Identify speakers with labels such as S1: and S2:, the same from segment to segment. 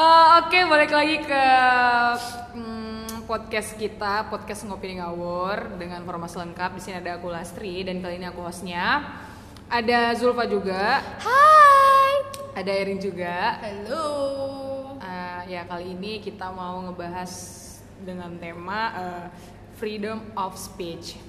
S1: Eh, Oke, balik lagi ke mm, podcast kita, podcast Ngopi di Ngawur dengan formasi lengkap. Di sini ada aku Lastri dan kali ini aku hostnya. Ada Zulfa juga,
S2: Hai.
S1: ada Erin juga.
S2: Halo.
S1: Eh, ya kali ini kita mau ngebahas dengan tema eh, freedom of speech.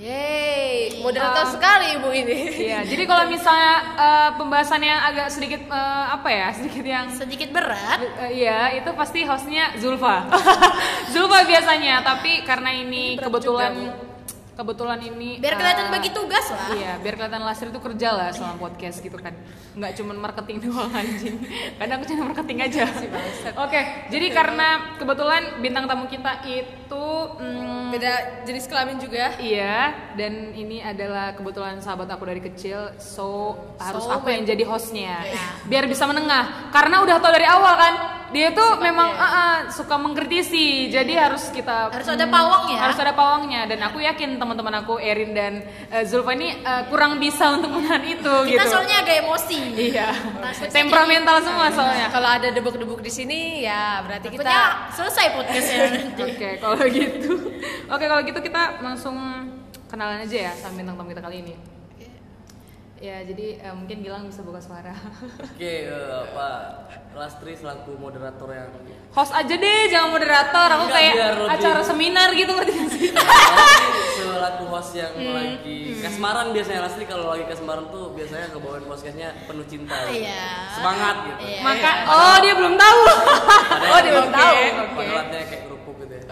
S2: Yeay, moderator
S1: Um,
S2: sekali ibu ini.
S1: Iya, jadi kalau misalnya eh, pembahasannya agak sedikit eh, apa ya, sedikit yang
S2: Sedikit berat.
S1: Eh, Iya, itu pasti hostnya Zulfa. Zulfa biasanya, tapi karena ini
S2: berat
S1: kebetulan
S2: juga,
S1: kebetulan ini
S2: ya? Biar kelihatan
S1: eh,
S2: bagi tugas lah.
S1: Iya, biar kelihatan Lasri itu kerja lah selama podcast gitu kan. Nggak cuman marketing doang anjing. Kadang aku cuma marketing aja.
S2: Iya
S1: Oke, jadi karena kebetulan bintang tamu kita itu mm,
S2: Beda jenis kelamin juga.
S1: Iya, dan ini adalah kebetulan sahabat aku dari kecil, so harus aku yang jadi hostnya,
S2: Iya.
S1: biar bisa menengah. Karena udah tau dari awal kan, dia tuh memang ah, ah, suka mengkritisi, jadi harus kita
S2: ya? Iya.
S1: Hmm,
S2: Harus ada pawang ya.
S1: harus ada pawangnya. Dan aku yakin teman-teman aku Erin dan eh, Zulfa ini eh, kurang bisa untuk menahan itu
S2: Kita
S1: gitu.
S2: soalnya agak emosi.
S1: iya,
S2: Takutnya Iya.
S1: temperamental semua soalnya.
S3: Kalau ada debuk-debuk di sini ya berarti kita
S2: Takutnya selesai podcastnya nanti.
S1: Oke, kalau gitu, oke kalau gitu kita langsung kenalan aja ya sama bintang tamu kita kali ini. Ya, jadi eh, mungkin Gilang bisa buka suara.
S4: Oke, eh, Pak Lastri selaku moderator yang
S1: Host aja deh, jangan moderator. Aku
S4: Enggak,
S1: kayak
S4: biar lebih-
S1: acara seminar gitu ngerti gak sih?
S4: selaku host yang lagi kasmaran biasanya Lastri kalau lagi kasmaran tuh biasanya kebawain podcastnya penuh cinta.
S2: Iya.
S4: Semangat gitu.
S2: Iya.
S1: Maka oh dia belum tahu.
S4: Padahal-
S1: oh dia belum
S4: Oke,
S1: tahu. Oke.
S4: Padalatnya kayak kerupuk gitu ya.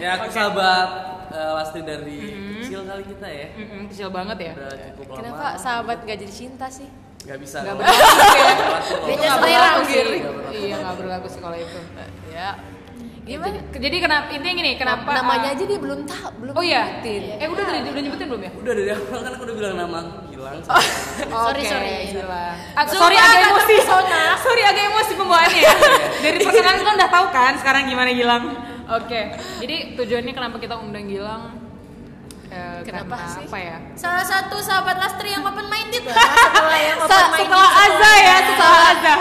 S4: ya aku sahabat eh, Lastri dari kecil kali kita ya.
S1: Mm-mm, Kecil banget ya.
S4: Udah cukup lama.
S3: kenapa sahabat gak jadi cinta sih?
S4: Gak bisa.
S1: Gak
S4: kalau-
S1: berlaku ya.
S4: kalau-
S1: Itu
S2: Beda
S1: nggak
S2: selera,
S1: berlaku sih.
S4: Nggak berlaku.
S1: Iya nggak berlaku sih kalau itu.
S2: Iya.
S3: Ya.
S1: Gimana? Jadi kenapa intinya gini, kenapa
S3: namanya
S1: ah,
S3: aja dia belum tahu, belum
S1: Oh iya.
S3: ngerti.
S1: Eh udah udah, udah nyebutin belum ya?
S4: Udah dari awal kan aku udah bilang nama aku Gilang. sama-
S2: Sorry,
S1: Oke,
S2: sorry.
S1: Gilang. Aku
S2: Zulfa
S1: sorry agak
S2: agak
S1: emosi.
S2: terpesona.
S1: Ah, sorry agak emosi pembawaannya. ya. Dari perkenalan kan udah tahu kan sekarang gimana Gilang. Oke. Jadi tujuannya kenapa kita undang Gilang? Eh, karena
S3: Kenapa sih?
S1: apa ya?
S2: Salah satu sahabat Lastri yang open minded lah. Setelah yang open
S1: Sa-
S2: minded.
S1: setelah
S3: gitu
S1: Azza
S3: kan.
S1: ya, setelah Azza.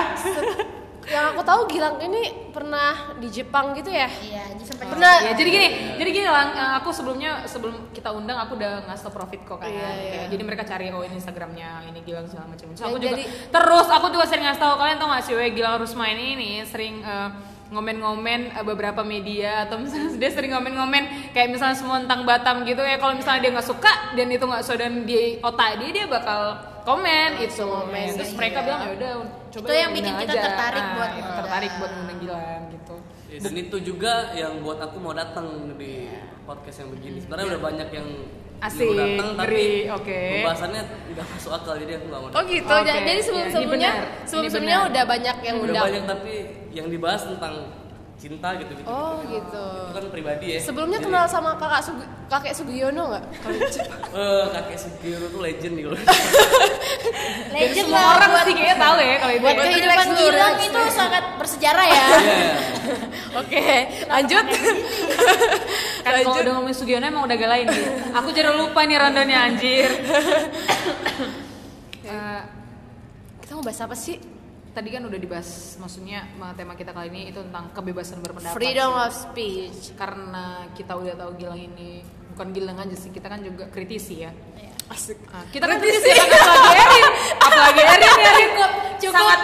S3: Yang aku tahu Gilang ini pernah di Jepang gitu ya.
S2: Iya, jadi sempat
S3: Pernah.
S1: Ya, jadi gini, jadi gini lang, eh, aku sebelumnya sebelum kita undang aku udah ngasih tau profit kok kan.
S3: Iya,
S1: Kayak,
S3: iya.
S1: Jadi mereka cari oh ini Instagramnya ini Gilang segala macam. So,
S2: Iya,
S3: Ya,
S1: aku juga
S3: jadi-
S1: terus aku juga sering ngasih tau kalian tau gak sih, we Gilang Rusma ini nih sering eh, ngomen-ngomen eh, beberapa media atau misalnya dia sering ngomen-ngomen kayak misalnya semua tentang Batam gitu ya kalau misalnya dia nggak suka dan itu nggak so dan di otak dia dia bakal komen itu
S3: komen,
S1: terus
S3: iya.
S1: mereka bilang ya udah coba
S2: Itu yang bikin
S1: undang
S2: kita tertarik buat
S1: yang
S2: ngundang.
S1: tertarik buat ngundang Gilang gitu
S4: Ya, Dan itu juga yang buat aku mau datang di podcast yang begini. Sebenarnya
S3: Iya.
S4: udah banyak yang
S1: Asik,
S4: mau datang tapi
S1: ngeri, oke.
S4: pembahasannya nggak masuk akal jadi aku nggak mau.
S3: Oh
S4: datang.
S3: gitu.
S1: Oke.
S3: Ja- Jadi
S1: Ya,
S3: sebelum-sebelumnya
S1: ini benar. Ini
S3: sebelum-sebelumnya
S1: benar.
S3: udah banyak yang
S4: Udah
S3: Oh, undang.
S4: banyak tapi yang dibahas tentang cinta gitu gitu.
S3: Oh gitu.
S4: Itu kan pribadi ya.
S3: Sebelumnya
S4: Jadi,
S3: kenal sama kakak Sugi- kakek Sugiono nggak? Kalau di Jepang.
S4: eh, kakek Sugiro tuh legend gitu.
S1: Dan
S2: legend
S1: semua
S2: lah
S1: orang
S2: buat
S1: sih kayaknya tahu ya kalau itu.
S3: buat
S1: ya.
S3: kayak-
S2: kehidupan
S3: Relax dulu,
S2: Gilang
S3: relax
S2: itu sangat bersejarah ya.
S4: iya.
S3: Oke, lanjut.
S1: Kan kalau udah ngomongin Sugiono emang udah galain dia. Aku jadi lupa nih randonnya anjir. Eh,
S3: Kita mau bahas apa sih?
S1: tadi kan udah dibahas maksudnya eh, tema kita kali ini itu tentang kebebasan berpendapat.
S3: Freedom of speech.
S1: Karena kita udah tahu Gilang ini bukan Gilang aja sih, kita kan juga kritisi ya.
S2: Iya.
S3: Asik.
S1: Ah, kita kan kritisi kan apalagi Erin, apalagi Erin ya.
S2: cukup cukup
S1: Sangat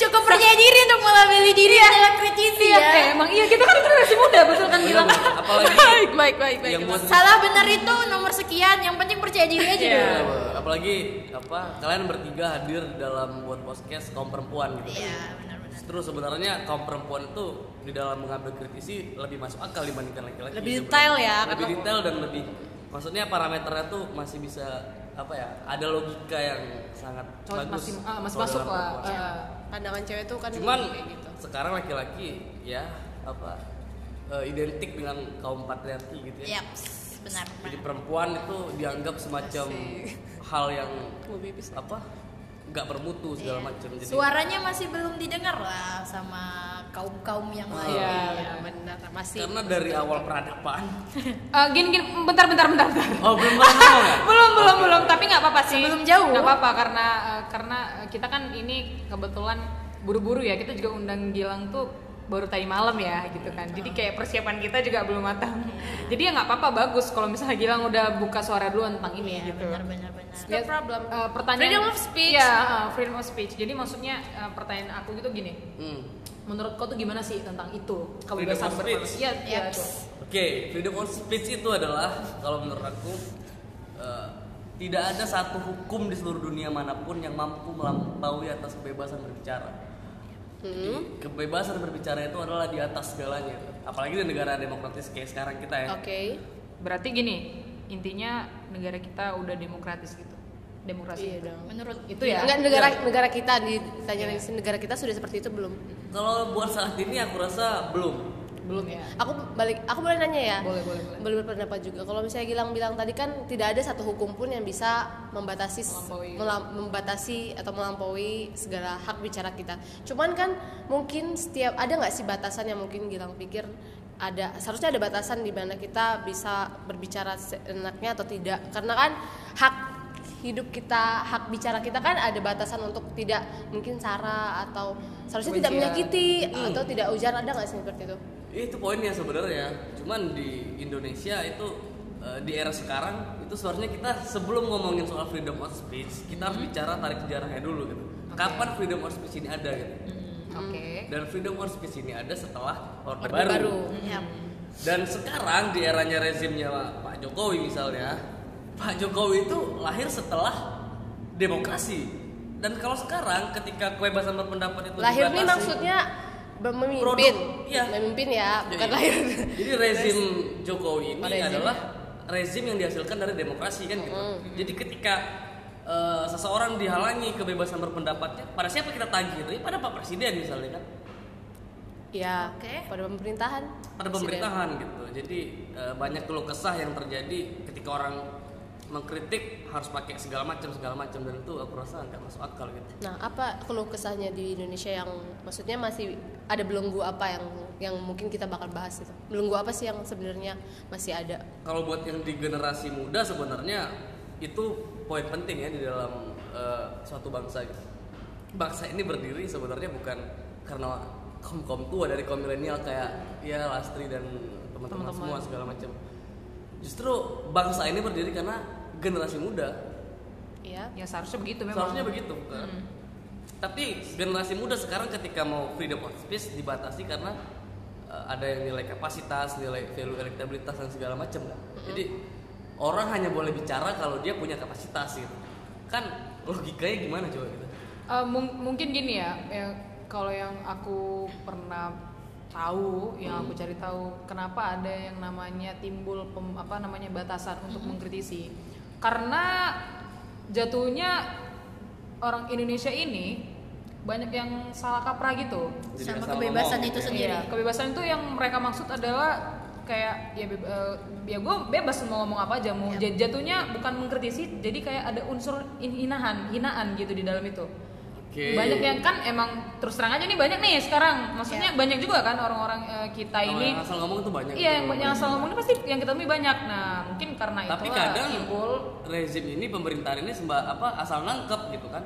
S2: cukup percaya diri untuk melabeli diri dalam kritisi
S1: iya,
S2: ya.
S1: kayak emang iya kita kan dulu masih muda betul kan Gilang.
S4: apalagi
S3: Baik, baik, baik, baik.
S4: yang buat
S2: Salah benar itu nomor sekian, yang penting percaya diri aja
S1: Iya.
S2: dulu.
S4: apalagi apa kalian bertiga hadir dalam buat podcast kaum perempuan gitu.
S2: Iya, benar-benar.
S4: Terus sebenarnya kaum perempuan itu di dalam mengambil kritisi lebih masuk akal dibandingkan laki-laki.
S3: Lebih
S4: sebenarnya.
S3: detail ya,
S4: Lebih
S3: karena-
S4: detail dan lebih maksudnya parameternya tuh masih bisa apa ya? Ada logika yang sangat
S1: Cowok
S4: bagus.
S1: masih ah, masih
S4: kalau
S1: masuk
S4: dalam
S1: lah.
S4: perempuan.
S1: Ah.
S3: Pandangan cewek tuh kan
S4: Cuman
S3: kayak gitu.
S4: sekarang laki-laki ya apa eh, identik dengan kaum patriarki gitu ya.
S2: Yap, Iya, benar.
S4: Jadi perempuan itu dianggap semacam hal yang apa? nggak bermutu segala macam. Jadi
S2: Suaranya masih belum didengar lah sama kaum kaum yang lain.
S1: Iya,
S3: Ya, benar masih.
S4: karena dari awal peradaban.
S1: Eh, gini gini bentar bentar bentar. bentar.
S4: Oh, belum pernah ngomong ya?
S1: belum belum belum tapi nggak apa-apa sih
S2: Sebelum jauh.
S1: eh, nggak apa-apa karena eh, karena kita kan ini kebetulan buru-buru ya kita juga undang Gilang tuh baru tadi malam ya gitu kan jadi kayak persiapan kita juga belum matang jadi ya nggak apa-apa bagus kalau misalnya Gilang udah buka suara duluan tentang ini gitu
S2: ya, benar benar benar
S3: Iya, No problem.
S1: eh, pertanyaan
S3: Freedom of speech.
S1: Iya, eh, freedom of speech jadi maksudnya eh, pertanyaan aku gitu gini
S4: Hmm.
S1: menurut kau tuh gimana sih tentang itu
S4: Freedom
S1: kebebasan
S4: of
S1: berpendapat?
S4: speech.
S1: Iya, iya
S2: Yaps.
S1: itu.
S4: Oke, freedom of speech itu adalah kalau menurut aku eh, tidak ada satu hukum di seluruh dunia manapun yang mampu melampaui atas kebebasan berbicara. Jadi,
S1: Hmm.
S4: kebebasan berbicara itu adalah di atas segalanya. Apalagi di negara demokratis kayak sekarang kita ya.
S3: Oke.
S1: Berarti gini, intinya negara kita udah demokratis gitu. Demokrasi.
S3: Iya dong.
S2: menurut
S1: Itu ya.
S3: Enggak negara
S2: Iya.
S3: negara kita ditanya lagi sih, negara kita sudah seperti itu belum?
S4: Kalau buat saat ini aku rasa belum.
S1: Belum
S2: Iya.
S1: ya.
S3: Aku balik, aku boleh nanya ya.
S1: Boleh, boleh, boleh.
S3: Boleh berpendapat juga. Kalau misalnya Gilang bilang tadi kan tidak ada satu hukum pun yang bisa membatasi s-
S1: Melampaui.
S3: melam- membatasi atau melampaui segala hak bicara kita. Cuman kan mungkin setiap ada nggak sih batasan yang mungkin Gilang pikir ada seharusnya ada batasan di mana kita bisa berbicara seenaknya atau tidak. Karena kan hak hidup kita, hak bicara kita kan ada batasan untuk tidak mungkin sara atau seharusnya
S1: Ujian.
S3: tidak
S1: Hmm.
S3: menyakiti atau tidak ujar ada nggak sih seperti itu?
S4: Iya, Itu poinnya sebenarnya. Cuman di Indonesia itu eh, di era sekarang itu seharusnya kita sebelum ngomongin soal freedom of speech, kita
S3: Hmm.
S4: harus bicara tarik sejarahnya dulu gitu. Kapan freedom of speech ini ada gitu.
S1: Oke.
S4: Dan freedom of speech ini ada setelah Orde
S3: Orde
S4: Baru.
S3: Baru.
S2: Yap.
S4: Dan sekarang di eranya rezimnya Pak Pak Jokowi misalnya, Pak Jokowi itu lahir setelah demokrasi. Dan kalau sekarang ketika kebebasan berpendapat itu
S3: lahir nih
S4: dibatasi,
S3: maksudnya be- memimpin
S4: Produk, iya.
S3: memimpin ya bukan
S4: Iya.
S3: lahir
S4: Jadi rezim Jokowi ini
S3: Oh, rezim.
S4: adalah rezim yang dihasilkan dari demokrasi kan gitu. Jadi ketika eh, seseorang dihalangi kebebasan berpendapatnya, pada siapa kita tagih? Ini pada Pak Presiden misalnya kan,
S3: ya
S2: Oke.
S3: pada pemerintahan
S4: pada
S3: Presiden.
S4: pemerintahan gitu. Jadi eh, banyak keluh kesah yang terjadi ketika orang mengkritik harus pakai segala macam segala macam dan itu aku rasa nggak masuk akal gitu.
S3: nah apa keluh kesahnya di Indonesia yang maksudnya masih ada belenggu apa yang yang mungkin kita bakal bahas itu belenggu apa sih yang sebenarnya masih ada
S4: Kalau buat yang di generasi muda sebenarnya itu poin penting ya di dalam eh, suatu bangsa gitu. Bangsa ini berdiri sebenarnya bukan karena kaum-kaum tua dari kaum milenial kayak ya Lastri dan teman-teman
S1: Teman-teman.
S4: semua segala macam. Justru bangsa ini berdiri karena generasi muda
S3: ya
S1: Ya seharusnya begitu memang.
S4: Seharusnya begitu, bukan?
S2: Hmm.
S4: Tapi generasi muda sekarang ketika mau freedom of speech dibatasi karena eh, ada yang nilai kapasitas, nilai value elektabilitas dan segala macam kan.
S2: Hmm.
S4: Jadi orang hanya boleh bicara kalau dia punya kapasitas gitu. Kan logikanya gimana coba gitu?
S1: Eh, mung- mungkin gini ya, ya kalau yang aku pernah tahu, yang
S4: Hmm.
S1: aku cari tahu kenapa ada yang namanya timbul pem- apa namanya batasan untuk
S4: Hmm.
S1: mengkritisi. Karena jatuhnya orang Indonesia ini banyak yang salah kaprah gitu.
S4: Jadi
S2: Sama
S4: asal
S2: kebebasan
S4: ngomong
S2: itu
S4: gitu ya.
S2: sendiri.
S1: Iya, kebebasan itu yang mereka maksud adalah kayak ya bebe- eh, ya gue bebas mau ngomong apa aja mau
S3: Iya.
S1: Jat- jatuhnya bukan mengkritisi jadi kayak ada unsur hin- hinaan hinaan gitu di dalam itu
S4: Oke.
S1: banyak yang kan emang terus terang aja nih banyak nih sekarang
S3: Iya.
S1: maksudnya banyak juga kan orang-orang eh, kita
S4: Kalau
S1: ini
S4: yang Iya, asal ngomong itu banyak.
S1: iya yang
S4: gitu.
S1: banyak yang asal ngomong ini pasti yang kita temui banyak nah mungkin karena itu
S4: Tapi kadang
S3: Iya,
S1: timbul
S4: rezim ini pemerintahan ini semba apa asal nangkep gitu kan.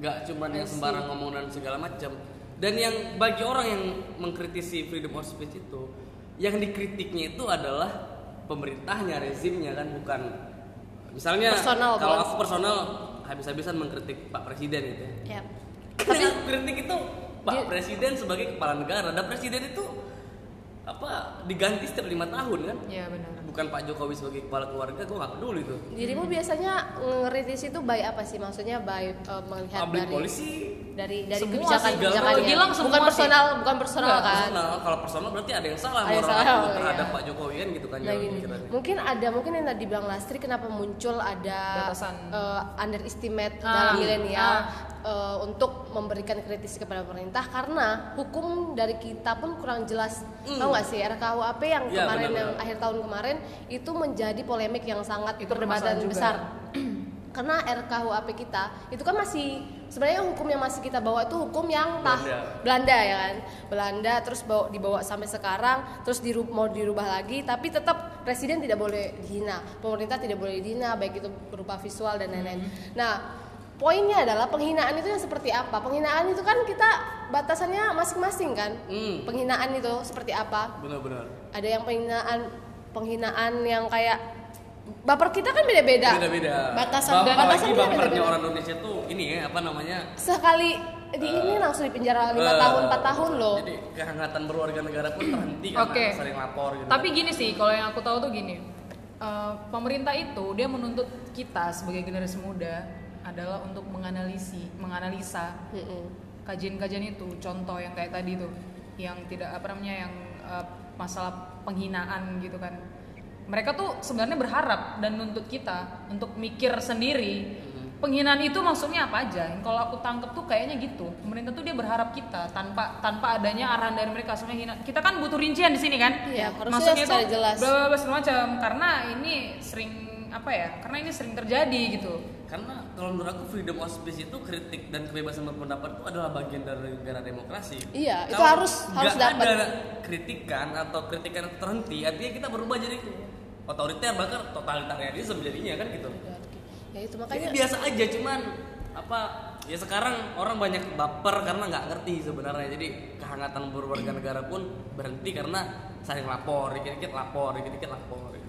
S4: Nggak cuman yang sembarang ngomong dan segala macam. Dan yang bagi orang yang mengkritisi freedom of speech itu, yang dikritiknya itu adalah pemerintahnya, rezimnya kan bukan misalnya
S3: Personal,
S4: kalau
S3: bukan?
S4: aku personal habis-habisan mengkritik Pak Presiden gitu ya.
S2: Yap.
S4: Tapi kritik itu Pak Presiden sebagai kepala negara dan presiden itu apa diganti setiap lima tahun kan?
S1: ya benar
S4: bukan Pak Jokowi sebagai kepala keluarga gue nggak peduli tuh
S3: dirimu biasanya ngeritis itu by apa sih maksudnya by eh, melihat
S4: public
S3: dari
S4: policy
S3: dari dari
S1: Semua
S3: kebijakan
S4: sih,
S3: kebijakan
S1: kalau Gilang semua
S3: bukan
S1: sih.
S3: personal bukan personal
S4: Nggak,
S3: kan
S4: personal kalau personal berarti ada yang salah
S3: Ada yang
S4: moral
S3: salah,
S4: aku
S3: iya.
S4: terhadap Pak Jokowi kan gitu kan
S3: Nah,
S4: jalan
S3: gini,
S4: pikirannya
S3: mungkin ada mungkin yang tadi bilang Lastri kenapa muncul ada
S1: Batasan.
S3: eh, underestimate
S1: Ah,
S3: dalam milenial
S1: ah.
S3: eh, untuk memberikan kritis kepada pemerintah karena hukum dari kita pun kurang jelas
S4: Hmm.
S3: tahu nggak sih RKUHP yang
S1: Ya,
S4: Iya,
S3: kemarin
S4: benar-benar.
S3: yang akhir tahun kemarin itu menjadi polemik yang sangat
S1: Itu permasalahan
S3: perdebatan
S1: juga.
S3: besar karena RKUHP kita itu kan masih sebenarnya hukum yang masih kita bawa itu hukum yang tah
S4: Belanda.
S3: Belanda ya kan Belanda terus bawa, dibawa sampai sekarang terus diru- mau dirubah lagi tapi tetap presiden tidak boleh dihina pemerintah tidak boleh dihina baik itu berupa visual dan lain-lain nah poinnya adalah penghinaan itu yang seperti apa penghinaan itu kan kita batasannya masing-masing kan
S4: Hmm.
S3: penghinaan itu seperti apa
S4: benar-benar
S3: ada yang penghinaan penghinaan yang kayak baper kita kan beda-beda
S4: beda-beda
S3: Batasan-
S4: Baper-
S3: batasan
S4: apalagi
S3: dia
S4: bapernya
S3: beda-beda.
S4: orang Indonesia tuh ini ya apa namanya
S3: sekali di ini langsung dipenjara lima
S4: eh,
S3: tahun 4 tahun loh
S4: jadi kehangatan berwarga negara pun terhenti karena
S1: Oke.
S4: sering lapor gitu
S1: Tapi gini sih, kalau yang aku tahu tuh gini, eh, pemerintah itu dia menuntut kita sebagai generasi muda adalah untuk menganalisi, menganalisa
S3: Mm-mm.
S1: kajian-kajian itu. Contoh yang kayak tadi tuh, yang tidak apa namanya yang eh, masalah penghinaan gitu kan. Mereka tuh sebenarnya berharap dan nuntut kita untuk mikir sendiri. Penghinaan itu maksudnya apa aja? Yang Kalau aku tangkep tuh kayaknya gitu. Pemerintah tuh dia berharap kita tanpa tanpa adanya arahan dari mereka. Soalnya hina- kita kan butuh rincian di sini kan?
S3: Iya, harusnya
S1: Maksudnya
S3: secara
S1: tuh
S3: jelas.
S1: bla bla bla segala macam karena ini sering apa ya? Karena ini sering terjadi gitu.
S4: karena kalau menurut aku freedom of speech itu kritik dan kebebasan berpendapat itu adalah bagian dari negara demokrasi.
S3: Iya, itu
S4: Kalau
S3: harus- harus
S4: nggak
S3: dapat.
S4: ada kritikan atau kritikan itu terhenti, artinya kita berubah jadi otoriter bahkan totalitarianisme jadinya kan gitu.
S3: ya itu
S4: Jadi
S3: makanya
S4: biasa aja cuman apa ya sekarang orang banyak baper karena nggak ngerti sebenarnya jadi kehangatan berwarga negara pun berhenti karena saling lapor dikit-dikit lapor dikit-dikit lapor gitu.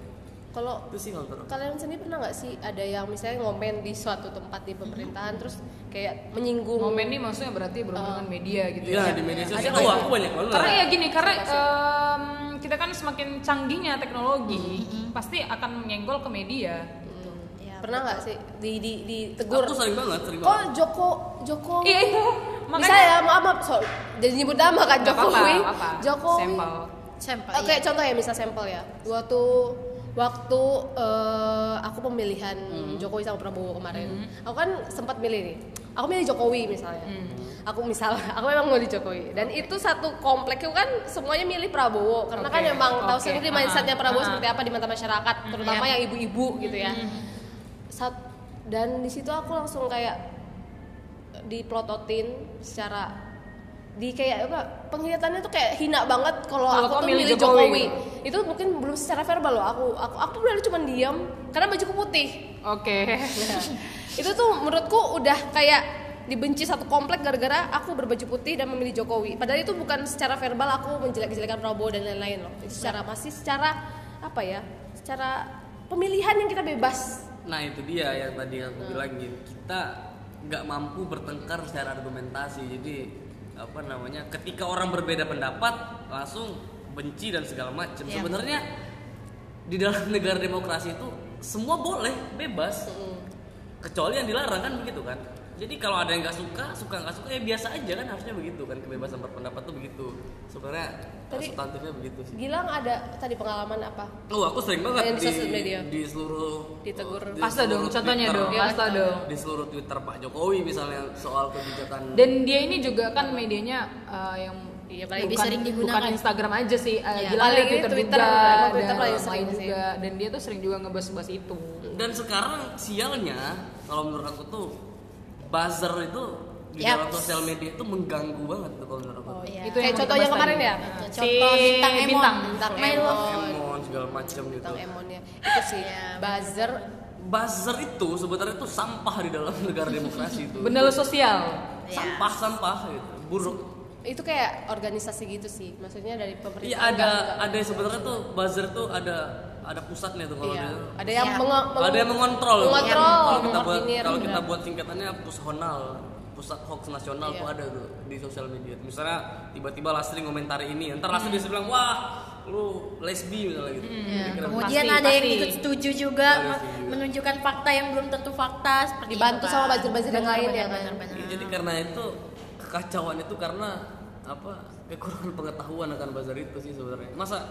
S3: kalau
S4: itu sih kalau menurut aku.
S3: kalian sendiri pernah nggak sih ada yang misalnya ngomen di suatu tempat di pemerintahan terus kayak menyinggung
S1: Momen ini maksudnya berarti
S3: Ah.
S1: berhubungan media gitu
S4: Iya
S1: ya.
S4: di media
S3: Ada
S4: sosial
S3: nggak
S4: wah,
S3: sih?
S4: aku banyak banget.
S1: Karena ya gini, karena em, kita kan semakin canggihnya teknologi, pasti akan menyenggol ke media.
S2: Ya,
S3: Hmm. pernah nggak sih di di ditegur
S4: Aku sering banget, sering
S3: kok
S4: banget.
S3: Joko Joko
S1: Iya itu.
S3: bisa
S1: Makanya
S3: ya maaf maaf so, jadi nyebut nama
S1: Nggak
S3: kan Jokowi
S1: apa-apa, nggak apa-apa.
S3: Jokowi
S1: Sampel.
S2: Sampel.
S3: oke contoh ya misal sampel ya waktu waktu eh, aku pemilihan
S1: Hmm.
S3: Jokowi sama Prabowo kemarin aku kan sempat milih nih aku milih Jokowi misalnya
S1: Hmm.
S3: aku misal aku memang mau di Jokowi dan itu satu komplek itu kan semuanya milih Prabowo karena
S1: Oke,
S3: kan emang tahu
S1: oke,
S3: sendiri
S1: aha,
S3: mindsetnya
S1: aha. Iya.
S3: Prabowo
S1: Hmm.
S3: seperti apa di mata masyarakat terutama yang ibu-ibu gitu ya Sat- dan di situ aku langsung kayak diplototin secara di kayak apa penglihatannya tuh kayak hina banget kalau
S1: Kalau
S3: aku
S1: kau
S3: tuh
S1: milih
S3: milih
S1: Jokowi
S3: Jokowi. Itu mungkin belum secara verbal loh aku. Aku aku benar cuma diam karena bajuku putih.
S1: Oke.
S3: itu tuh menurutku udah kayak dibenci satu komplek gara-gara aku berbaju putih dan memilih Jokowi. Padahal itu bukan secara verbal aku menjelek-jelekan Prabowo dan lain-lain loh. Itu secara
S1: Nah.
S3: masih secara apa ya? Secara pemilihan yang kita bebas.
S4: Nah itu dia yang tadi aku bilang gitu. Kita nggak mampu bertengkar secara argumentasi. Jadi apa namanya? Ketika orang berbeda pendapat langsung benci dan segala macam.
S2: Iya.
S4: Sebenarnya di dalam negara demokrasi itu semua boleh bebas. Kecuali yang dilarang kan begitu kan. Jadi kalau ada yang nggak suka, suka nggak suka ya biasa aja kan harusnya begitu kan kebebasan berpendapat tuh begitu. Sebenarnya
S3: Tadi-
S4: substantifnya begitu sih.
S3: Gilang ada tadi pengalaman apa?
S4: Oh aku sering banget
S3: Yang di sosial media.
S4: di seluruh
S3: Ditegur.
S4: di
S1: Pasta dong,
S4: seluruh
S1: contohnya
S4: Twitter.
S1: dong,
S3: Iya,
S1: pasta
S3: pasta.
S1: dong.
S4: di seluruh Twitter Pak Jokowi misalnya soal kebijakan
S1: Dan dia ini juga kan medianya eh, yang bukan,
S3: Iya, paling
S2: lebih sering digunakan.
S1: bukan Instagram aja sih, eh,
S2: Iya.
S1: gila
S3: Paling ini
S1: Twitter,
S3: Twitter,
S1: juga,
S3: emang
S1: ada
S3: Twitter paling
S1: lain
S3: sering sih.
S1: juga. Dan dia tuh sering juga ngebahas-bahas itu.
S4: dan sekarang sialnya kalau menurut aku tuh buzzer itu di
S3: Ya.
S2: Yap.
S4: dalam sosial media itu mengganggu banget tuh kalau menurut aku.
S2: Oh, iya.
S1: Itu
S3: Kayak
S1: yang
S3: contoh
S1: kita
S3: yang
S1: bahas
S3: kemarin
S1: tadi.
S3: ya?
S1: Nah,
S2: Contoh
S1: si
S2: bintang Emon.
S1: Bintang.
S2: Bintang
S3: My
S2: Emon.
S3: love.
S4: Emon segala macam gitu.
S3: tentang emonnya ya. itu sih
S2: Iya,
S3: buzzer
S4: Buzzer itu sebenarnya itu sampah di dalam negara demokrasi itu.
S1: Benda sosial.
S2: Iya.
S4: Sampah sampah gitu. Buruk.
S3: itu kayak organisasi gitu sih maksudnya dari pemerintah
S4: Iya ada
S3: enggak, enggak.
S4: ada sebenarnya tuh buzzer tuh ada ada pusatnya tuh kalau
S3: iya.
S4: dia-
S3: ada yang
S2: Iya.
S3: menge- meng-
S4: ada yang mengontrol
S3: mengontrol
S4: kalau kita buat
S3: mengordinir.
S4: kalau kita buat singkatannya pushonal pusat hoax nasional
S3: Iya.
S4: tuh ada tuh di sosial media misalnya tiba-tiba Lastri komentari ini ntar Lastri
S3: Hmm.
S4: bisa bilang wah lu lesbi misalnya gitu
S3: iya.
S2: Ya,
S4: Kira-kira.
S2: Kemudian
S1: Pasti,
S2: ada yang
S1: pasti.
S2: ikut setuju juga
S4: Ada
S2: me-
S4: setuju.
S2: menunjukkan fakta yang belum tentu fakta seperti
S3: Dibantu
S2: itu,
S3: sama
S2: Pak.
S3: buzzer-buzzer yang
S2: Benar,
S3: lain ya,
S2: benar,
S3: kan?
S2: benar, benar.
S4: Ya, jadi karena itu kekacauan itu karena apa kekurangan pengetahuan akan bazar itu sih sebenarnya masa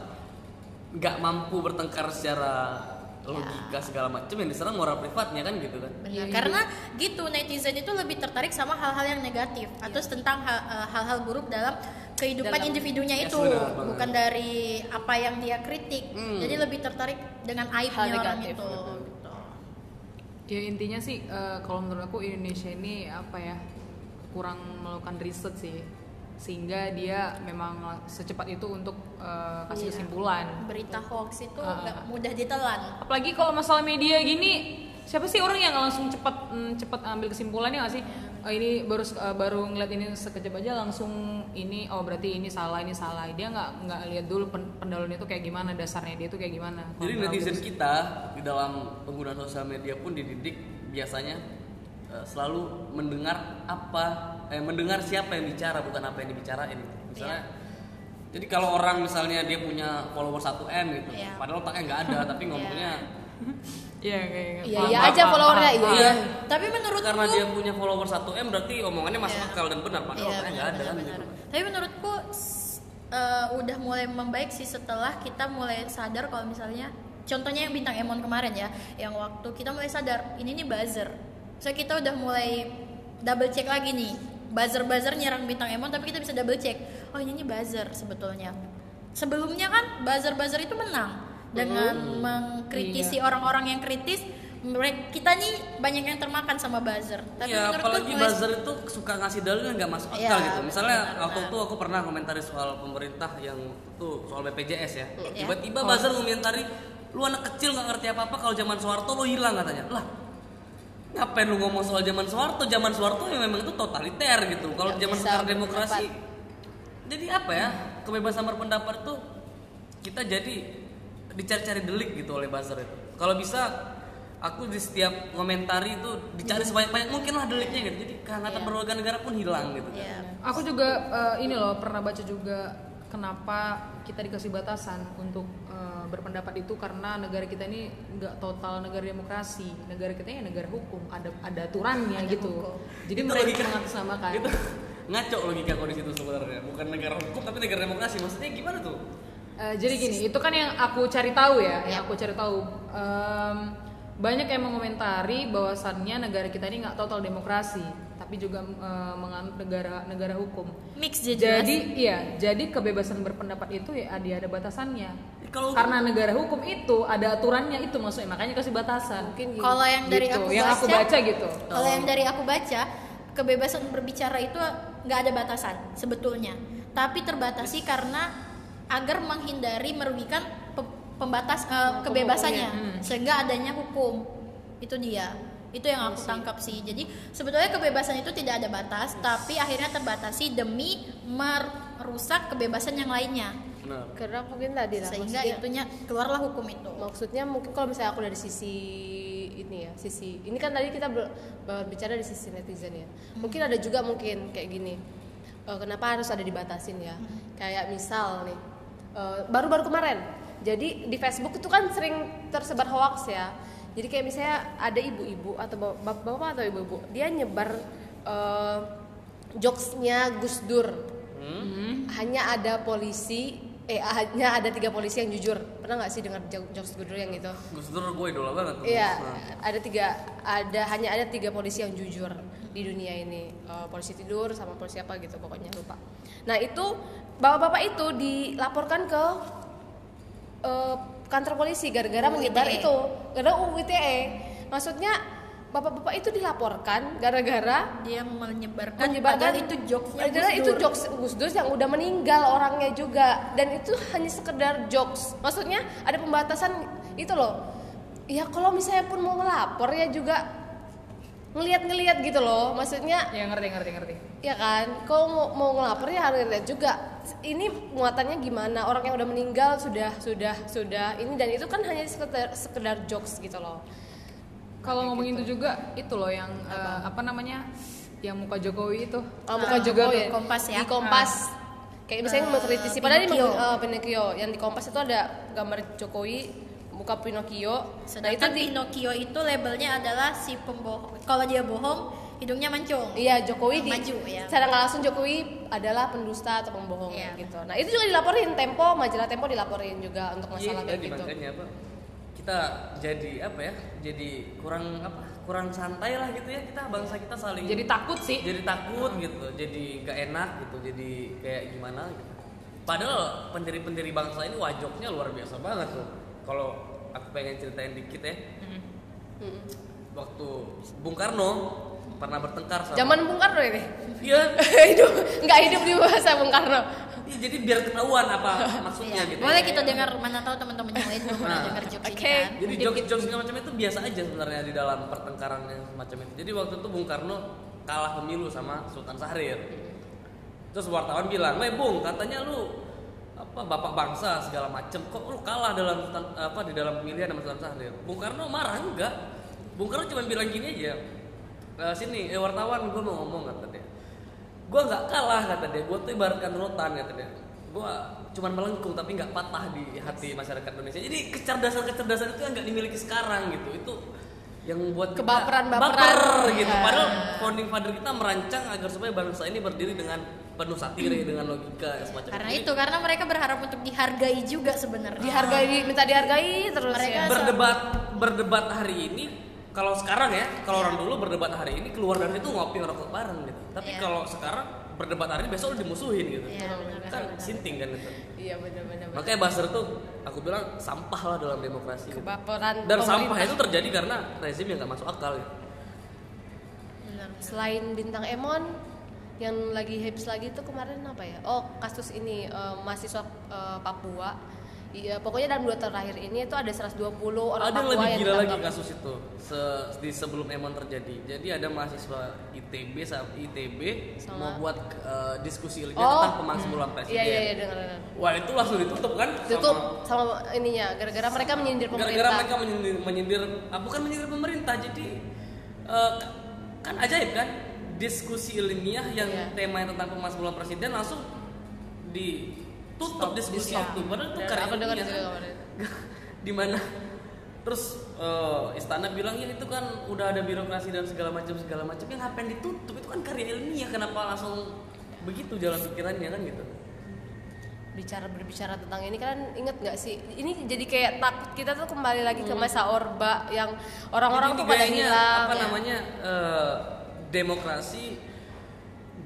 S4: nggak mampu bertengkar secara logika
S3: Iya.
S4: segala macam yang diserang moral privatnya kan gitu kan
S2: Benar, karena gitu netizen itu lebih tertarik sama hal-hal yang negatif atau tentang hal- eh, hal-hal buruk dalam kehidupan
S3: Dalam-
S2: individunya
S4: Yes,
S2: itu
S4: benar banget.
S2: bukan dari apa yang dia kritik
S4: Hmm.
S2: jadi lebih tertarik dengan
S3: Hal
S2: aibnya orang
S3: negatif,
S2: itu
S3: betul.
S2: gitu.
S1: Ya intinya sih eh, kalau menurut aku Indonesia ini apa ya kurang melakukan riset sih sehingga dia memang secepat itu untuk eh, kasih
S3: Iya.
S1: kesimpulan.
S2: berita hoax itu
S1: Ah.
S2: nggak mudah ditelan
S1: Apalagi kalau masalah media gini siapa sih orang yang langsung cepat mm, cepat ambil kesimpulannya nggak sih Oh, ini baru sek- eh, baru ngeliat ini sekejap aja langsung ini oh berarti ini salah ini salah dia nggak nggak lihat dulu pen- pendahulunya itu kayak gimana dasarnya dia itu kayak gimana
S4: Jadi
S1: Kalau
S4: netizen kita di dalam penggunaan sosial media pun dididik biasanya eh, selalu mendengar apa eh mendengar siapa yang bicara bukan apa yang dibicarain gitu. Misalnya Jadi kalau orang misalnya dia punya follower 1M gitu,
S2: Iya.
S4: padahal otaknya nggak ada tapi ngomongnya
S1: Iya kayak
S3: Iya
S1: paham,
S3: iya
S1: paham,
S3: aja
S1: paham,
S3: followernya
S1: paham.
S3: iya iya.
S2: Tapi menurutku
S4: karena dia punya follower 1M berarti omongannya masuk
S2: Iya.
S4: akal dan benar padahal
S2: Iya,
S4: otaknya nggak ada kan
S2: benar-benar.
S4: gitu.
S2: Tapi menurutku s- eh, udah mulai membaik sih setelah kita mulai sadar kalau misalnya contohnya yang bintang Emon kemarin ya, yang waktu kita mulai sadar ini nih buzzer. So kita udah mulai double check lagi nih. Buzzer-buzzer nyerang bintang Emon tapi kita bisa double check. Oh, ini nih buzzer sebetulnya. Sebelumnya kan buzzer-buzzer itu menang dengan mengkritisi
S4: Iya.
S2: orang-orang yang kritis mereka kita nih banyak yang termakan sama buzzer tapi
S4: Iya,
S2: menurutku
S4: apalagi
S2: mulai-
S4: buzzer itu suka ngasih dalil yang nggak masuk
S2: Iya,
S4: akal gitu. Misalnya
S2: benar-benar.
S4: waktu itu aku pernah komentari soal pemerintah yang itu soal BPJS ya.
S2: Iya.
S4: Tiba-tiba buzzer komentari, lu anak kecil nggak ngerti apa-apa kalau zaman Soeharto lu hilang katanya. Lah, ngapain lu ngomong soal zaman Soeharto? Zaman Soeharto ya memang itu totaliter gitu. Kalau
S3: Nggak
S4: zaman
S3: bisa
S4: sekarang demokrasi,
S3: berpendapat.
S4: jadi apa ya kebebasan berpendapat tuh kita jadi dicari-cari delik gitu oleh buzzer itu kalau bisa aku di setiap komentari itu dicari
S3: Iya.
S4: sebanyak-banyak mungkin lah deliknya gitu jadi kehangatan berwarga negara pun hilang gitu kan.
S2: Iya.
S1: Aku juga eh, ini loh pernah baca juga kenapa kita dikasih batasan untuk eh, berpendapat itu karena negara kita ini nggak total negara demokrasi. Negara kita ini negara hukum, ada ada aturannya gitu. Jadi
S4: Itu
S1: mereka
S4: logika.
S1: mengatasnamakan.
S4: itu ngaco logika kok di situ sebenarnya bukan negara hukum tapi negara demokrasi maksudnya gimana tuh
S1: Eh, jadi gini, itu kan yang aku cari tahu ya, yang aku cari tahu. Em, banyak yang mengomentari bahwasannya negara kita ini nggak total demokrasi, tapi juga eh, menganut negara negara hukum.
S2: mix jadi
S1: Jadi iya, jadi kebebasan berpendapat itu ya dia ada batasannya.
S4: kalau
S1: Karena negara hukum itu ada aturannya itu maksudnya makanya kasih batasan.
S3: Mungkin gini.
S2: Kalau yang
S1: Gitu,
S2: dari aku
S1: yang
S2: baca,
S1: aku baca gitu.
S2: Kalau yang dari aku baca, kebebasan berbicara itu nggak ada batasan sebetulnya, tapi terbatasi karena agar menghindari merugikan pe- pembatas eh,
S1: ya.
S2: kebebasannya,
S1: Hmm.
S2: sehingga adanya hukum. Itu dia. Itu yang aku tangkap sih. Jadi sebetulnya kebebasan itu tidak ada batas, tapi akhirnya terbatasi demi merusak kebebasan yang lainnya.
S4: benar
S3: Karena mungkin
S1: Ya,
S3: tadi lah
S2: Sehingga
S3: maksudnya-
S2: itunya keluarlah hukum itu.
S3: maksudnya mungkin kalau misalnya aku dari sisi ini ya sisi ini kan tadi kita ber- berbicara di sisi netizen ya mungkin ada juga mungkin kayak gini eh, kenapa harus ada dibatasin ya kayak misal nih eh, baru-baru kemarin jadi di Facebook itu kan sering tersebar hoax ya jadi kayak misalnya ada ibu-ibu atau bap- bapak-bapak atau ibu-ibu dia nyebar eh, jokesnya Gus Dur hanya ada polisi eh hanya ada tiga polisi yang jujur pernah nggak sih dengar jo- jokes Gus Dur yang gitu
S4: Gus Dur gue idola banget tuh
S3: iya
S4: Nah.
S3: ada tiga ada hanya ada tiga polisi yang jujur di dunia ini Eh, polisi tidur sama polisi apa gitu pokoknya lupa nah itu bapak-bapak itu dilaporkan ke eh, kantor polisi gara-gara
S2: UU
S3: menyebar
S2: ITE.
S3: itu gara UU ITE E. maksudnya bapak-bapak itu dilaporkan gara-gara
S2: Dia menyebarkan,
S3: menyebarkan
S2: padahal itu jokesnya
S3: padahal
S2: Gus
S3: itu
S2: Dur.
S3: jokes Gus Dur yang udah meninggal orangnya juga dan itu hanya sekedar jokes maksudnya ada pembatasan itu loh ya kalau misalnya pun mau ngelapor ya juga ngeliat-ngeliat gitu loh maksudnya
S1: Ya ngerti ngerti ngerti.
S3: ya kan kalau mau, mau ngelapor ya harus lihat juga ini muatannya gimana orang yang udah meninggal sudah sudah sudah ini dan itu kan hanya sekedar sekedar jokes gitu loh
S1: Kalau ngomongin itu juga itu loh yang eh, apa, namanya? Yang muka Jokowi itu.
S3: Oh, bukan juga
S2: Jokowi,
S3: tuh.
S2: Kompas ya. Eh,
S3: Di Kompas. Kayak misalnya mengkritisi padahal ini
S2: Pinocchio.
S3: meng- eh, Pinocchio. Yang di Kompas itu ada gambar Jokowi muka Pinocchio. Nah, itu
S2: Sedangkan
S3: di
S2: Pinocchio itu labelnya adalah si pembohong. Kalau dia bohong, hidungnya mancung.
S3: Iya, Jokowi di
S2: Maju, ya.
S3: secara nggak langsung Jokowi adalah pendusta atau pembohong
S2: Iya.
S3: gitu. Nah, itu juga dilaporin Tempo, majalah Tempo dilaporin juga untuk
S4: Iya,
S3: masalah kayak
S4: tadi
S3: gitu.
S4: makanya apa? Kita jadi apa ya? Jadi kurang apa? Kurang santai lah gitu ya kita bangsa kita saling
S1: Jadi takut sih.
S4: jadi takut gitu, jadi gak enak gitu, jadi kayak gimana gitu. Padahal pendiri-pendiri bangsa ini wajoknya luar biasa banget tuh. Kalau aku pengen ceritain dikit ya, waktu Bung Karno pernah bertengkar sama
S3: Zaman Bung Karno ini.
S4: Iya,
S3: hidup nggak hidup di masa Bung Karno.
S4: Iya, jadi biar ketahuan apa maksudnya
S2: Iya.
S4: gitu.
S2: Boleh kita dengar mana tahu teman-teman yang lain belum pernah
S4: Nah.
S2: dengar jokes ini
S1: Oke.
S2: kan.
S4: Jadi jokes-jokes segala macam itu biasa aja sebenarnya di dalam pertengkaran yang semacam itu. Jadi waktu itu Bung Karno kalah pemilu sama Sultan Syahrir. Terus wartawan bilang, "Weh Bung, katanya lu apa bapak bangsa segala macem kok lu kalah dalam tan- apa di dalam pemilihan sama Sultan Syahrir?" Bung Karno marah enggak? Bung Karno cuma bilang gini aja. "Eh, sini, eh, wartawan gue mau ngomong kata dia. Gue nggak kalah kata dia. Gue tuh ibaratkan rotan kata dia. Gue cuman melengkung tapi nggak patah di hati masyarakat Indonesia. Jadi kecerdasan-kecerdasan itu yang nggak dimiliki sekarang gitu. Itu yang membuat kita
S3: Kebaperan-baperan.
S4: baper gitu.
S3: Iya.
S4: Padahal founding father kita merancang agar supaya bangsa ini berdiri dengan penuh satire, dengan logika yang semacam
S2: Karena
S4: Jadi
S2: itu karena mereka berharap untuk dihargai juga sebenarnya.
S3: dihargai di- minta dihargai terus
S2: Ah. Mereka
S3: ya.
S4: berdebat berdebat hari ini kalau sekarang ya kalau orang dulu berdebat hari ini keluar dari itu ngopi ngerokok bareng gitu tapi
S2: Iya.
S4: kalau sekarang berdebat hari ini besok udah dimusuhin gitu
S2: Iya, benar,
S4: kan
S2: benar,
S4: sinting kan itu
S3: iya benar-benar
S4: makanya buzzer tuh aku bilang sampah lah dalam demokrasi gitu.
S3: kebaperan
S4: dan sampah
S3: pemerintah.
S4: itu terjadi karena rezim yang nggak masuk akal gitu.
S2: Benar.
S3: selain bintang Emon yang lagi hits lagi itu kemarin apa ya oh kasus ini eh, mahasiswa eh, Papua Iya, pokoknya dalam dua tahun terakhir ini itu ada 120 orang
S4: ada yang
S3: Papua
S4: lebih
S3: yang
S4: gila lagi
S3: ditangkap.
S4: kasus itu se- di sebelum Emon terjadi jadi ada mahasiswa ITB sa- ITB
S3: Sama-
S4: mau buat eh, diskusi ilmiah
S3: Oh.
S4: tentang pemaksulan presiden
S3: Iya iya iya dengar dengar.
S4: wah itu langsung ditutup kan sama-
S3: Tutup sama ininya gara-gara mereka menyindir
S4: gara-gara
S3: pemerintah.
S4: mereka menyindir, menyindir ah, bukan menyindir pemerintah jadi eh, ka- kan ajaib kan diskusi ilmiah yang
S3: Iya.
S4: temanya tentang pemaksulan presiden langsung ditutup diskusi itu padahal itu
S3: Dan
S4: karya
S3: aku iya. dengar
S4: ilmiah
S3: juga
S4: kan.
S3: kemarin.
S4: di mana terus eh, istana bilang ya itu kan udah ada birokrasi dan segala macam segala macam yang ngapain ditutup itu kan karya ilmiah kenapa langsung begitu jalan pikirannya kan gitu
S3: bicara berbicara tentang ini kan inget nggak sih ini jadi kayak takut kita tuh kembali lagi ke masa orba yang orang-orang
S4: Jadi
S3: tuh pada
S4: gayanya,
S3: hilang
S4: Hmm. apa
S3: ya.
S4: namanya eh, demokrasi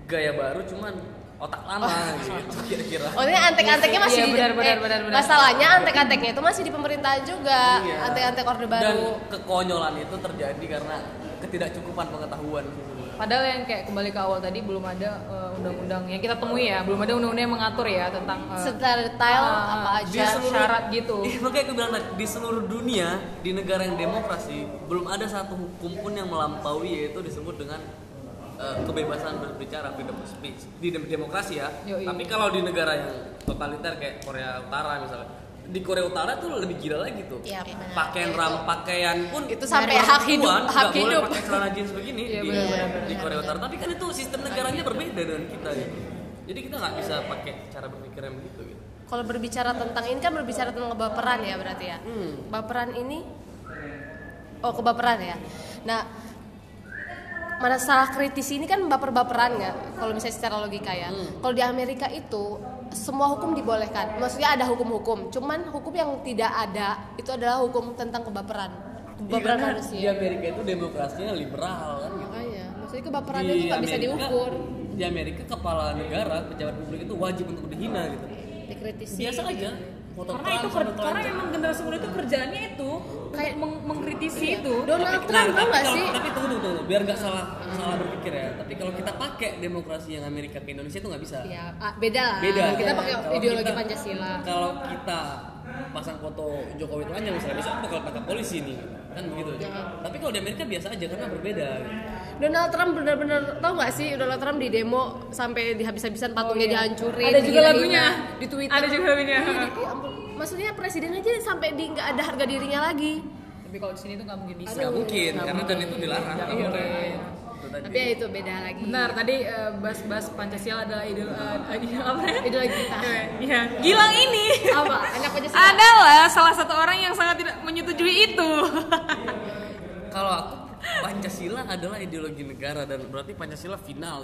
S4: gaya baru cuman otak lama gitu kira-kira
S3: Oh ini antek-anteknya masih
S1: Iya,
S3: di
S1: benar, benar,
S3: eh,
S1: benar, benar.
S3: Masalahnya antek-anteknya itu masih di pemerintahan juga.
S4: Iya.
S3: Antek-antek orde
S4: dan
S3: baru.
S4: kekonyolan itu terjadi karena ketidakcukupan pengetahuan sesungguhnya.
S1: Padahal yang kayak kembali ke awal tadi belum ada eh, undang-undang yang kita temui ya, belum ada undang-undang yang mengatur ya tentang eh,
S3: Secara detail
S1: ah,
S3: apa
S1: di
S3: aja
S1: seluruh- syarat gitu.
S4: Ih, makanya aku bilang tadi, di seluruh dunia di negara yang demokrasi belum ada satu hukum pun yang melampaui yaitu disebut dengan eh, kebebasan berbicara freedom of speech di dem- demokrasi ya
S1: Yoi.
S4: tapi kalau di negara yang totaliter kayak Korea Utara misalnya di Korea Utara tuh lebih gila lagi tuh
S2: Iya, benar.
S4: pakaian
S2: Itu-
S4: ram pakaian pun
S3: Itu sampai hak hidup,
S4: perempuan
S3: hak
S4: nggak boleh
S3: hidup.
S4: pakai celana jeans begini
S1: Iya,
S4: di,
S1: benar, benar,
S4: di Korea Utara tapi kan itu sistem negaranya berbeda dengan kita gitu jadi kita nggak bisa pakai cara berpikir yang begitu gitu
S3: Kalau berbicara tentang ini kan berbicara tentang kebaperan ya berarti ya.
S1: Hmm.
S3: Baperan ini Oh, kebaperan ya. Nah, masalah kritis ini kan baper-baperan nggak? Kalau misalnya secara logika ya.
S4: Hmm.
S3: Kalau di Amerika itu semua hukum dibolehkan. Maksudnya ada hukum-hukum. Cuman hukum yang tidak ada itu adalah hukum tentang kebaperan.
S4: Iya,
S3: Kebaperan
S4: karena di
S3: manusia.
S4: Amerika itu demokrasinya liberal kan gitu.
S3: Makanya, maksudnya kebaperannya itu nggak bisa
S4: Amerika-
S3: diukur,
S4: Di Amerika kepala negara, pejabat publik itu wajib untuk dihina gitu.
S3: dikritisi.
S4: Biasa aja. Foto
S1: Karena itu ker- karena emang generasi muda itu kerjaannya itu kayak meng- mengkritisi itu.
S3: Donald Trump tau nggak sih?
S4: Tapi tunggu tunggu, tunggu, biar nggak salah salah berpikir ya. Tapi kalau kita pakai demokrasi yang Amerika ke Indonesia itu nggak bisa.
S3: Ya, ah, beda lah.
S4: Beda.
S3: Kita pakai
S4: Kalau
S3: ideologi
S4: kita-
S3: Pancasila.
S4: Kalau kita pasang foto Jokowi itu panjang misalnya besok bakal tangkap polisi nih kan begitu.
S3: Iya.
S4: Tapi kalau di Amerika biasa aja karena berbeda. gitu.
S3: Donald Trump benar-benar tau nggak sih Donald Trump di demo sampai dihabis-habisan patungnya dihancurin.
S1: Ada juga
S3: dihina-hina.
S1: lagunya
S3: di Twitter.
S1: Ada juga lagunya.
S3: Ya ampun, Maksudnya presiden aja sampai di nggak ada harga dirinya lagi.
S1: Tapi kalau di sini tuh nggak mungkin bisa.
S4: Nggak mungkin karena dan itu dilarang. nggak boleh. Itu tadi.
S3: Tapi ya itu beda lagi.
S1: Benar, tadi eh, bahas-bahas Pancasila adalah idol apa ya?
S3: Ideologi kita.
S1: Iya. Gilang ini
S3: Apa? Anak Pancasila.
S1: adalah salah satu orang yang sangat tidak menyetujui itu.
S4: Kalau aku Pancasila adalah ideologi negara dan berarti Pancasila final.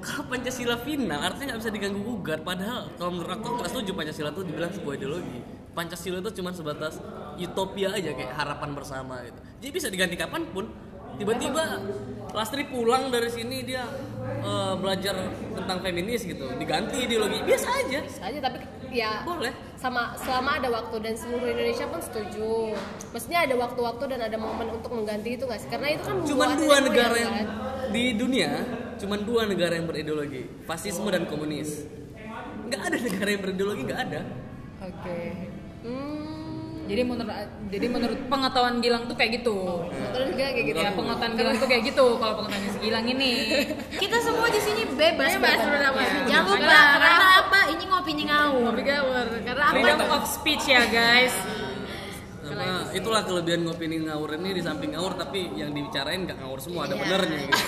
S4: Kalau Pancasila final artinya nggak bisa diganggu gugat. Padahal kalau menurut aku aku nggak setuju Pancasila itu dibilang sebuah ideologi. Pancasila itu cuma sebatas utopia aja kayak harapan bersama gitu. Jadi bisa diganti kapanpun. Tiba-tiba Lastri pulang dari sini dia eh, belajar tentang feminis gitu. Diganti ideologi biasa aja.
S3: aja tapi ya
S4: Boleh.
S3: sama selama ada waktu dan seluruh Indonesia pun setuju. Maksudnya ada waktu-waktu dan ada momen untuk mengganti itu nggak sih? Karena itu kan
S4: cuman
S3: membuat
S4: dua
S3: emosi,
S4: negara yang
S3: kan?
S4: di dunia cuman dua negara yang berideologi fasisme dan komunis nggak ada negara yang berideologi nggak ada
S1: Oke.
S3: Hmm,
S1: Jadi menurut jadi menurut pengetahuan Gilang tuh kayak gitu.
S3: terus juga kayak gitu
S1: Ya, pengetahuan Gilang tuh kayak gitu kalau pengetahuan si Gilang ini.
S2: Kita semua di sini bebas.
S1: Bebas berpendapat.
S2: Ya. Jangan lupa
S1: Karena-
S2: karena,
S1: karena
S2: apa? Ini ngopi ini ngawur.
S1: Karena freedom of speech ya, guys.
S4: Nah, itulah kelebihan ngopi ini ngawur ini di samping ngawur tapi yang dibicarain nggak ngawur semua ada
S2: Iya.
S4: benernya gitu.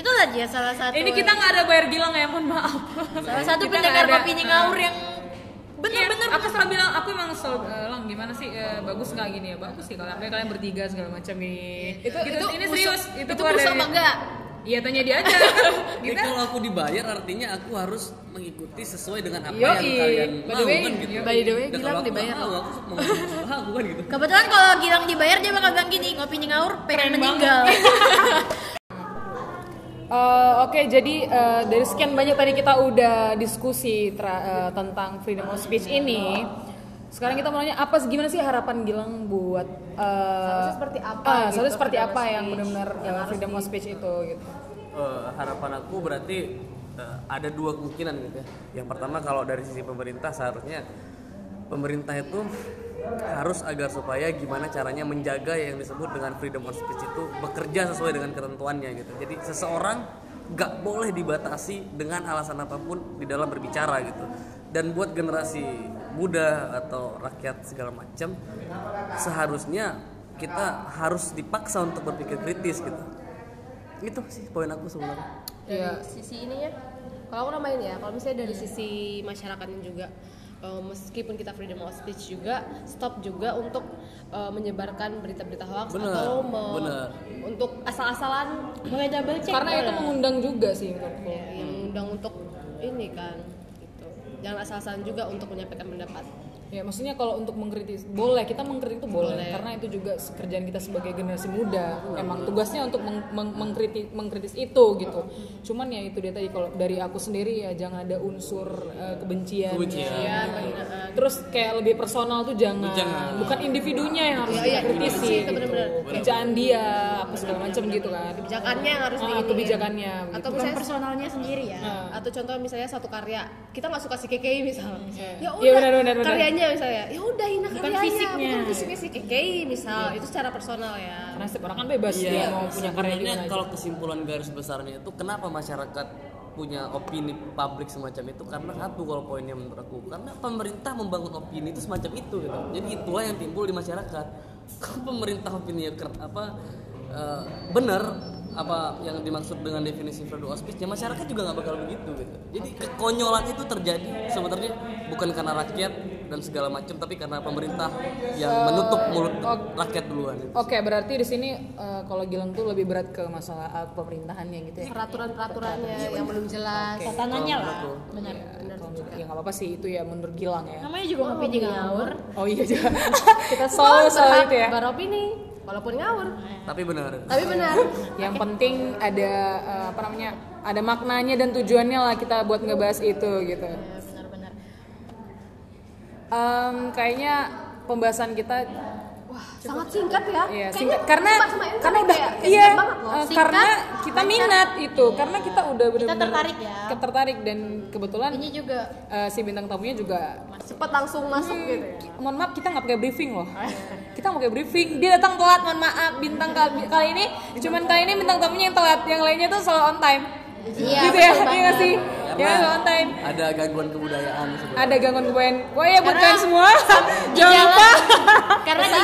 S2: Itulah dia salah satu.
S1: Ini kita nggak ada bayar Gilang ya, mohon maaf.
S2: salah satu
S1: Kita
S2: pendengar
S1: nggak ada,
S2: ngopi ini
S1: eh,
S2: ngawur yang
S1: Iya,
S2: bener-bener
S1: aku selalu bilang aku emang selalu eh, lang gimana sih eh, bagus nggak gini ya bagus sih kalau apalagi kalian bertiga segala macam nih
S3: Itu-
S1: Gitu,
S3: itu
S1: ini
S3: busuk-
S1: serius
S3: itu
S1: keluar
S3: busuk
S1: dari-
S3: apa enggak?
S1: iya tanya dia aja Gitu.
S4: Jadi
S1: kita
S4: kalau aku dibayar artinya aku harus mengikuti sesuai dengan apa
S1: Yoi.
S4: yang kalian
S1: By the
S4: mau
S1: way,
S4: kan gitu.
S1: by the way,
S4: Dan
S1: Gilang
S4: kalau aku
S1: dibayar.
S4: nggak Mau, aku mau usaha aku kan gitu.
S2: Kebetulan kalau Gilang dibayar dia bakal bilang gini, ngopi ini ngawur pengen meninggal.
S1: Iya, Eh, Oke, jadi eh, dari sekian banyak tadi kita udah diskusi tra- eh, tentang freedom of speech ini. Sekarang kita mau nanya apa sih- gimana sih harapan Gilang buat eh,
S3: Seharusnya seperti apa
S1: ah,
S3: gitu,
S1: seharusnya seperti
S3: freedom of
S1: apa yang
S3: speech
S1: benar-benar
S3: yang
S1: eh,
S3: harus
S1: freedom of
S3: di-
S1: speech itu gitu.
S4: Eh, harapan aku berarti eh, ada dua kemungkinan gitu ya. Yang pertama kalau dari sisi pemerintah seharusnya pemerintah itu harus agar supaya gimana caranya menjaga yang disebut dengan freedom of speech itu bekerja sesuai dengan ketentuannya gitu. Jadi seseorang nggak boleh dibatasi dengan alasan apapun di dalam berbicara gitu. Dan buat generasi muda atau rakyat segala macam seharusnya kita harus dipaksa untuk berpikir kritis gitu. Itu sih poin aku sebenarnya.
S3: dari
S1: Iya.
S3: sisi ini ya kalau aku nambahin ya kalau misalnya dari sisi masyarakatnya juga eh, meskipun kita freedom of speech juga stop juga untuk eh, menyebarkan berita-berita hoax
S4: Bener,
S3: atau me-
S4: bener.
S3: untuk asal-asalan
S2: Mulai double check.
S1: Karena itu
S2: boleh.
S1: mengundang juga sih menurutku.
S3: ya, yang mengundang untuk ini kan gitu jangan asal-asalan juga untuk menyampaikan pendapat
S1: Ya, maksudnya kalau untuk mengkritis boleh, kita mengkritik itu boleh,
S3: Boleh.
S1: karena itu juga kerjaan kita sebagai generasi muda. Emang tugasnya untuk meng- meng- mengkritik mengkritis itu gitu. Cuman ya itu dia tadi kalau dari aku sendiri ya jangan ada unsur eh, kebencian.
S4: Kebencian.
S1: Ya.
S3: Iya, eh.
S1: Terus kayak lebih personal tuh jangan,
S4: Jangan.
S1: bukan individunya yang harus
S3: Iya, iya,
S1: dikritisi.
S3: itu benar-benar.
S1: gitu. Kerjaan dia apa segala macam gitu kan.
S3: kebijakannya yang harus
S1: Ah,
S3: diiniin.
S1: kebijakannya,
S3: ya. atau
S1: gitu.
S2: bukan
S3: misalnya
S2: personalnya sendiri ya.
S1: Nah.
S3: atau contoh misalnya satu karya kita nggak suka si KKI misalnya ya
S1: Iya,
S3: udah
S1: benar, benar, benar.
S3: karyanya misalnya ya udah hina
S1: Bukan
S3: karyanya
S1: fisiknya. Iya.
S3: bukan fisiknya si KKI misal itu secara personal ya
S1: Karena setiap orang kan bebas dia mau punya karya
S4: Iya, Sebenarnya
S1: gimana gitu aja.
S4: kalau kesimpulan garis besarnya itu kenapa masyarakat punya opini publik semacam itu karena satu kalau poinnya menurut aku karena pemerintah membangun opini itu semacam itu gitu. Jadi itulah yang timbul di masyarakat. Kalau pemerintah opini apa eh, benar apa yang dimaksud dengan definisi freedom of speech ya masyarakat juga nggak bakal begitu gitu. Jadi kekonyolan itu terjadi sebenarnya bukan karena rakyat dan segala macam tapi karena pemerintah yang menutup mulut rakyat duluan. gitu.
S1: Oke, berarti di sini eh, kalau Gilang tuh lebih berat ke masalah eh, pemerintahannya gitu
S3: Iya,
S1: ya.
S3: peraturan-peraturannya yang belum jelas
S2: Satananya
S1: Iya
S2: lah.
S1: Benar, Ya nggak apa-apa sih itu ya menurut Gilang ya.
S2: Namanya juga ngopi ini ngawur.
S1: Oh iya juga. Kita selalu soal itu ya.
S3: beropini walaupun ngawur
S4: Tapi benar.
S3: tapi benar
S1: Yang penting ada eh, apa namanya? Ada maknanya dan tujuannya lah kita buat ngebahas itu gitu.
S2: Ya, Benar-benar.
S1: Em, kayaknya pembahasan kita
S3: sangat singkat ya
S1: ya
S3: Kayaknya
S1: singkat karena
S3: sumpah sama Emma
S1: karena
S3: tuh
S1: udah
S3: ya. kayak- kayak
S1: iya
S3: singkat banget
S1: eh,
S3: loh.
S2: ya, Singkat,
S1: karena kita minat itu karena kita udah benar-benar
S2: tertarik ya.
S1: tertarik dan kebetulan
S2: Ini juga
S1: eh, si bintang tamunya juga
S3: cepet langsung masuk
S1: Hmm.
S3: gitu ya
S1: mohon maaf kita nggak pakai briefing loh kita nggak pakai briefing dia datang telat mohon maaf bintang kali, kali ini cuman kali ini bintang tamunya yang telat yang lainnya tuh selalu on time
S2: Iya,
S1: gitu ya
S2: betul
S1: iya nggak sih ya
S4: Karena
S1: selalu on time
S4: Ada gangguan kebudayaan sebenarnya.
S1: ada gangguan kuen wah ya buat
S2: Karena-
S1: kalian semua jangan
S2: jalan-
S1: lupa
S2: karena di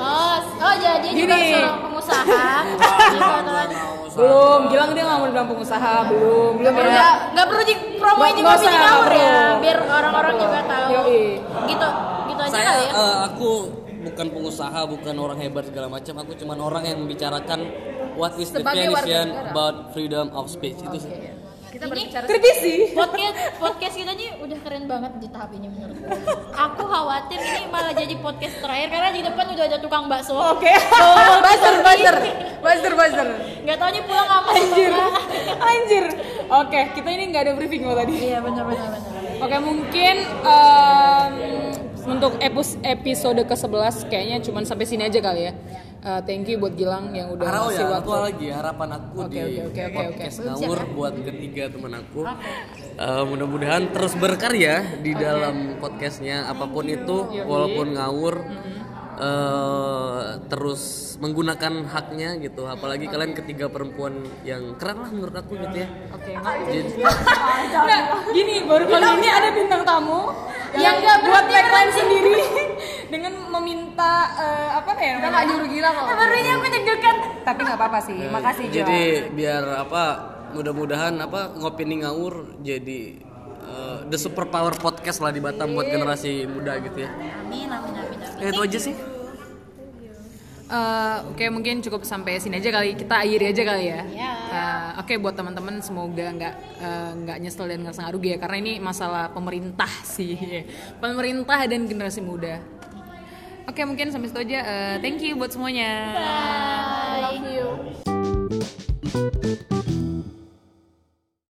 S2: Oh, oh jadi dia juga
S1: Gini.
S2: seorang pengusaha. Gitu,
S1: belum Gilang dia nggak mau dibilang pengusaha belum belum
S2: Perlu
S1: ya
S2: nggak nggak perlu di promoin
S1: Nggak-
S2: di
S1: nggak
S2: ngopi ini
S1: usah,
S2: ngawur
S1: nggak
S2: ya,
S1: perlu.
S2: biar orang-orang juga tahu.
S1: Yoi.
S2: Gitu, gitu aja
S4: Saya
S2: kali ya.
S4: eh, aku bukan pengusaha, bukan orang hebat segala macam. Aku cuman orang yang membicarakan what is the
S3: Sebagai warga
S4: definition
S3: negara.
S4: about freedom of speech itu sih.
S3: kita
S2: Ini-
S3: berbicara
S1: kritisi
S2: podcast podcast kita nih udah keren banget di tahap ini menurutku. Aku khawatir ini malah jadi podcast terakhir karena di depan udah ada tukang bakso.
S1: oke buzzer buzzer buzzer buzzer
S2: Nggak tahu nih pulang apa
S1: anjir anjir oke kita ini nggak ada briefing loh tadi
S2: Iya benar-benar benar.
S1: Oke mungkin em, untuk epus- episode ke-11 kayaknya cuman sampai sini aja kali ya. eh, thank you buat Gilang yang udah
S4: Arau
S1: ngasih
S4: ya,
S1: waktu.
S4: aku lagi harapan aku
S1: Oke,
S4: di
S1: oke, oke, ya? oke,
S4: podcast
S2: oke.
S4: ngawur buat ketiga teman aku. Eh, mudah-mudahan terus berkarya di dalam podcastnya apapun itu,
S1: Yoi.
S4: walaupun ngawur. eh, terus menggunakan haknya gitu, apalagi kalian ketiga perempuan yang keren lah menurut aku gitu ya.
S1: Oke.
S4: Jadi,
S1: Nah, gini baru kali ini ada bintang tamu yang
S2: nggak
S1: buat tagline sendiri dengan meminta eh, apa ya? Kita nggak nyuruh gila kok. Barunya aku deg-degan. Tapi nggak apa-apa sih. Makasih Jo.
S4: Eh, Jadi biar apa mudah-mudahan apa ngopi nih ngawur jadi eh, the superpower podcast lah di Batam
S1: Iya.
S4: buat generasi muda gitu ya.
S2: Amin, amin, amin, amin.
S4: Ya, itu aja sih.
S1: Eh, Oke mungkin cukup sampai sini aja kali kita akhiri aja kali ya.
S2: Iya.
S1: Eh, Oke buat teman-teman semoga nggak eh, nggak nyesel dan nggak sengaruh ya karena ini masalah pemerintah sih pemerintah dan generasi muda. Oke mungkin sampai situ aja. Eh, thank you buat semuanya. Bye.